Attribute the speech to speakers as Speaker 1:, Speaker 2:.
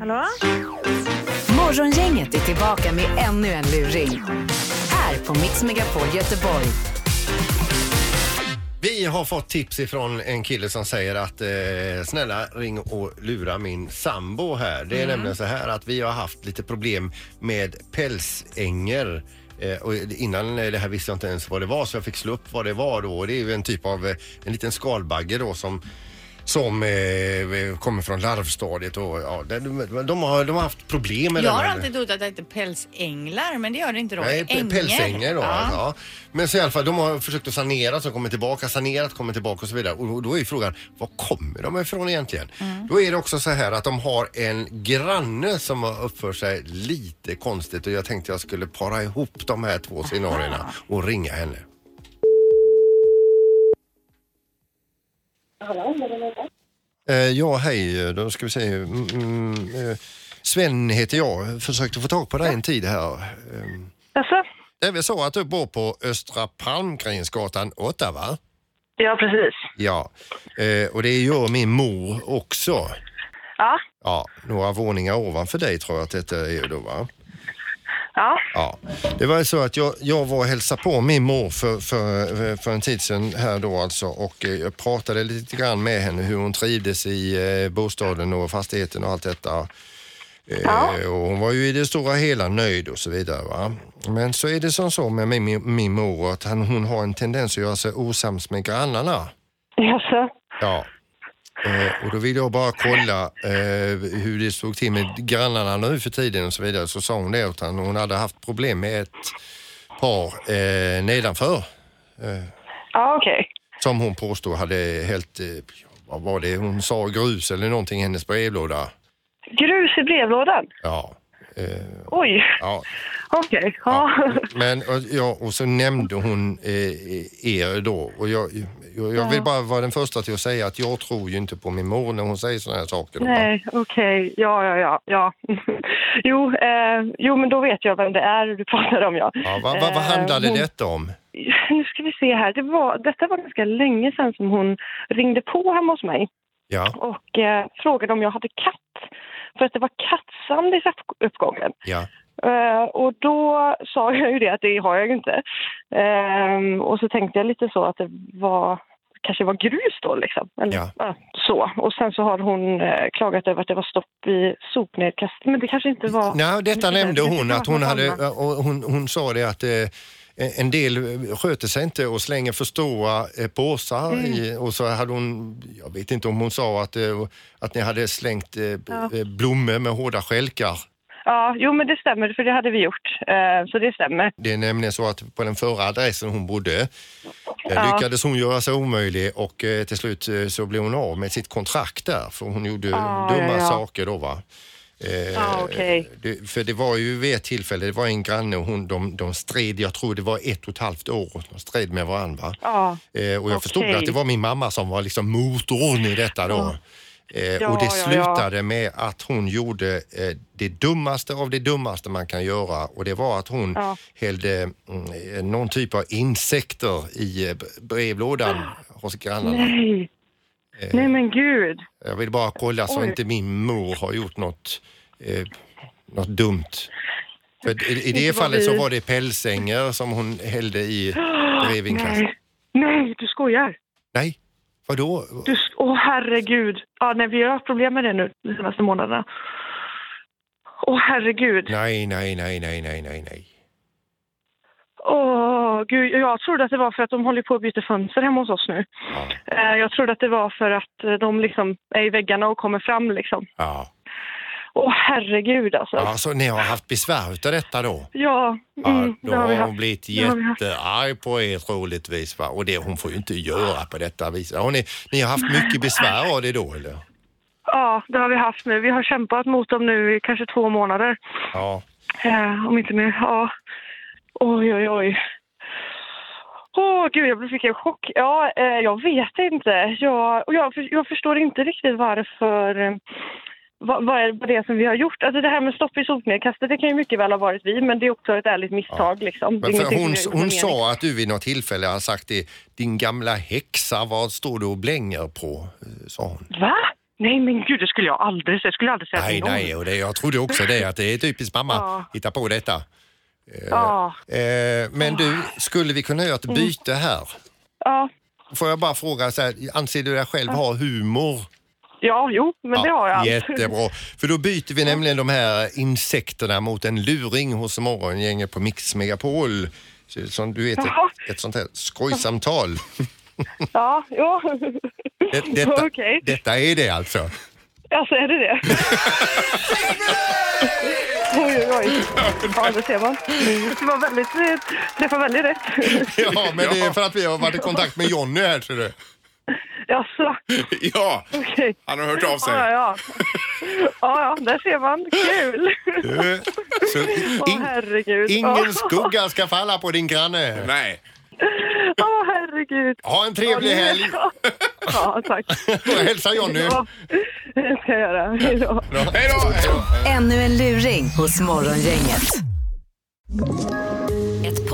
Speaker 1: Hallå?
Speaker 2: Morgongänget är tillbaka med ännu en luring. Här på Mix Megapol Göteborg.
Speaker 3: Vi har fått tips ifrån en kille som säger att eh, snälla ring och lura min sambo här. Det är
Speaker 4: Mm.
Speaker 3: nämligen så här att vi har haft lite problem med pälsänger. Eh, och innan eh, det här visste jag inte ens vad det var så jag fick slå upp vad det var då. Och Det är ju en typ av eh, en liten skalbagge då som som eh, kommer från larvstadiet och ja, de, de, har, de har haft problem
Speaker 4: Jag
Speaker 3: med den
Speaker 4: har
Speaker 3: här-
Speaker 4: alltid trott att det hette pälsänglar, men det gör det inte då.
Speaker 3: Nej, p-
Speaker 4: Änger.
Speaker 3: pälsänger då.
Speaker 4: Ja.
Speaker 3: Ja. Men så i alla fall, de har försökt att sanera, så kommer tillbaka, sanerat, kommer tillbaka och så vidare. Och då är ju frågan, var kommer de ifrån egentligen?
Speaker 4: Mm.
Speaker 3: Då är det också så här att de har en granne som har uppfört sig lite konstigt och jag tänkte jag skulle para ihop de här två scenarierna och ringa henne. Eh, ja, hej. Då ska vi se. Mm, mm, eh, Sven heter jag. Försökte få tag på dig en tid här. Ehm,
Speaker 1: Jaså?
Speaker 3: det är väl så att du bor på Östra Palmgrensgatan 8 va?
Speaker 1: Ja, precis.
Speaker 3: Ja, eh, och det gör min mor också.
Speaker 1: Ja,
Speaker 3: Ja, några våningar ovanför dig tror jag att detta är då va?
Speaker 1: ja,
Speaker 3: Ja, det var ju så att jag, jag var och hälsade på min mor för, för, för en tid sedan här då alltså och eh, jag pratade lite grann med henne hur hon trivdes i eh, bostaden och fastigheten och allt detta. Eh, Och hon var ju i det stora hela nöjd och så vidare. Va? Men så är det som så med min, min, min mor att han, hon har en tendens att göra sig osams med grannarna.
Speaker 1: jaså?
Speaker 3: Ja. Eh, och då ville jag bara kolla eh, hur det stod till med grannarna nu för tiden och så vidare. Så sa hon det åt honom. Hon hade haft problem med ett par eh, nedanför
Speaker 1: Ja, okej.
Speaker 3: som hon påstod hade helt, eh, vad var det hon sa, grus eller någonting i hennes brevlåda.
Speaker 1: Grus i brevlådan?
Speaker 3: Ja. Eh,
Speaker 1: Oj,
Speaker 3: ja.
Speaker 1: okej. Ja.
Speaker 3: Men, och, ja, och så nämnde hon eh, er då. Och jag, jag, jag vill bara vara den första till att säga att jag tror ju inte på min mor när hon säger sådana här saker.
Speaker 1: Nej, okej. Ja, ja, ja. ja. jo, eh, jo, men då vet jag vem det är du pratar om, ja.
Speaker 3: Ja, vad, vad, vad
Speaker 1: Eh,
Speaker 3: handlade
Speaker 1: hon-
Speaker 3: detta om?
Speaker 1: Nu ska vi se här. Det var, detta var ganska länge sedan som hon ringde på hemma hos mig.
Speaker 3: Ja,
Speaker 1: och eh, frågade om jag hade katt. För att det var kattsand i trapp- uppgången.
Speaker 3: ja,
Speaker 1: Eh, och då sa jag ju det att det har jag ju inte. Ehm, och så tänkte jag lite så att det var kanske var grus då liksom. Eller,
Speaker 3: Ja.
Speaker 1: så. Och sen så har hon eh, klagat över att det var stopp i sopnedkast. Men det kanske inte var...
Speaker 3: Nej, detta
Speaker 1: det-
Speaker 3: nämnde
Speaker 1: det- det-
Speaker 3: hon
Speaker 1: det-
Speaker 3: att hon
Speaker 1: det-
Speaker 3: hade, eh,
Speaker 1: det-
Speaker 3: och hon, hon sa det att eh, en del sköter sig inte och slänger för stora eh, påsar
Speaker 1: Mm.
Speaker 3: i, och så hade hon, jag vet inte om hon sa att, eh, att ni hade slängt eh, b- eh, blommor med hårda stjälkar.
Speaker 1: Ja, jo men det stämmer för det hade vi gjort. Eh, så det stämmer.
Speaker 3: Det är nämligen så att på den förra adressen hon bodde eh,
Speaker 1: Ja.
Speaker 3: lyckades hon göra sig omöjlig och eh, till slut eh, så blev hon av med sitt kontrakt där för hon gjorde
Speaker 1: Ah,
Speaker 3: dumma
Speaker 1: ja, ja.
Speaker 3: saker då va. Eh,
Speaker 1: Ah, okej.
Speaker 3: det, för det var ju vid ett tillfälle, det var en granne och hon, de, de stred, jag tror det var ett och ett halvt år, de stred med varandra. va?
Speaker 1: Ja.
Speaker 3: Eh, och jag förstod
Speaker 1: Okej.
Speaker 3: att det var min mamma som var liksom motorn i detta då. Eh,
Speaker 1: Ja,
Speaker 3: och det
Speaker 1: ja, ja.
Speaker 3: slutade med att hon gjorde eh, det dummaste av det dummaste man kan göra och det var att hon
Speaker 1: Ja.
Speaker 3: hällde mm, någon typ av insekter i eh, brevlådan
Speaker 1: Ah.
Speaker 3: hos grannarna.
Speaker 1: Nej.
Speaker 3: Eh.
Speaker 1: Nej men gud.
Speaker 3: Jag vill bara kolla så
Speaker 1: Oj.
Speaker 3: inte min mor har gjort något, eh, något dumt. För i, I det
Speaker 1: Inte vad
Speaker 3: fallet så
Speaker 1: vi-
Speaker 3: var det pälsänger som hon hällde i brevinkast.
Speaker 1: Nej. Nej, du skojar.
Speaker 3: Nej, vadå?
Speaker 1: Du, sk- åh herregud. Ja, nej, vi har haft problem med det nu de senaste månaderna. Åh herregud.
Speaker 3: Nej, nej, nej, nej, nej, nej, nej.
Speaker 1: Åh gud, jag trodde att det var för att de håller på att byta fönster hemma hos oss nu.
Speaker 3: Ja.
Speaker 1: Eh, Jag trodde att det var för att eh, de liksom är i väggarna och kommer fram liksom.
Speaker 3: Ja.
Speaker 1: Åh herregud alltså. Ja,
Speaker 3: ja, så ni har haft besvär utav detta då?
Speaker 1: mm,
Speaker 3: ja,
Speaker 1: det
Speaker 3: då
Speaker 1: har vi
Speaker 3: har
Speaker 1: haft.
Speaker 3: hon blivit
Speaker 1: Det har vi haft.
Speaker 3: jättearg på er troligtvis va? Och det, hon får ju inte göra på detta viset. Har ni, ni har haft mycket besvär av det då eller?
Speaker 1: Ja, det har vi haft nu. Vi har kämpat mot dem nu i kanske två månader.
Speaker 3: Ja.
Speaker 1: Eh, om inte mer. Ja. Oj, oj, oj. Åh, gud, jag blev- fick en chock. Ja, eh, jag vet inte. Jag, och jag, för- jag förstår inte riktigt varför... Eh, vad, vad är vad det är som vi har gjort? Alltså det här med stopp i sopnedkastet, det kan ju mycket väl ha varit vi, men det är också ett ärligt misstag liksom. Det är
Speaker 3: Men för
Speaker 1: ingenting
Speaker 3: hon
Speaker 1: som jag-
Speaker 3: hon
Speaker 1: som jag-
Speaker 3: sa att du vid något tillfälle har sagt det, din gamla häxa, vad står du och blänger på? Eh, Sa hon.
Speaker 1: Va? Nej men gud, det skulle jag aldrig säga. Jag skulle aldrig säga
Speaker 3: Nej,
Speaker 1: till någon.
Speaker 3: nej, och det, jag trodde också det, att det är typiskt mamma
Speaker 1: Ja.
Speaker 3: hitta på detta.
Speaker 1: Ja,
Speaker 3: Eh, men du,
Speaker 1: Ah.
Speaker 3: skulle vi kunna göra
Speaker 1: Mm.
Speaker 3: ett byte här?
Speaker 1: ja,
Speaker 3: Får jag bara fråga, så här, anser du dig själv ha humor?
Speaker 1: ja, jo, men det har jag.
Speaker 3: Jättebra, för då byter vi nämligen de här insekterna mot en luring hos Morgongänget på Mix Megapol. Så- Som du vet, ett,
Speaker 1: Jaha.
Speaker 3: ett sånt här skojsamtal.
Speaker 1: Ja, jo.
Speaker 3: Det, detta,
Speaker 1: Okej.
Speaker 3: detta är det alltså.
Speaker 1: Alltså, är det det? oj, oj, oj. Ja, det ser man. Det var väldigt, eh, träffade väldigt rätt.
Speaker 3: Ja, men det är för att vi har varit i kontakt med Jonny här ser du.
Speaker 1: Jaså,
Speaker 5: Ja,
Speaker 1: okej.
Speaker 5: han har hört av sig.
Speaker 1: Ja, ja. ja, ja, där ser man. Kul!
Speaker 3: Eh, Så,
Speaker 1: Åh,
Speaker 3: in,
Speaker 1: herregud.
Speaker 3: ingen
Speaker 1: Ja.
Speaker 3: skugga ska falla på din granne.
Speaker 5: Nej.
Speaker 1: Åh, herregud.
Speaker 3: Ha en trevlig helg
Speaker 1: Ja, tack.
Speaker 3: och hälsa Jonny.
Speaker 1: Ja, det ska jag göra. Hej då.
Speaker 5: Hej då! Hej då.
Speaker 2: Ännu en luring hos Morgongänget. Ett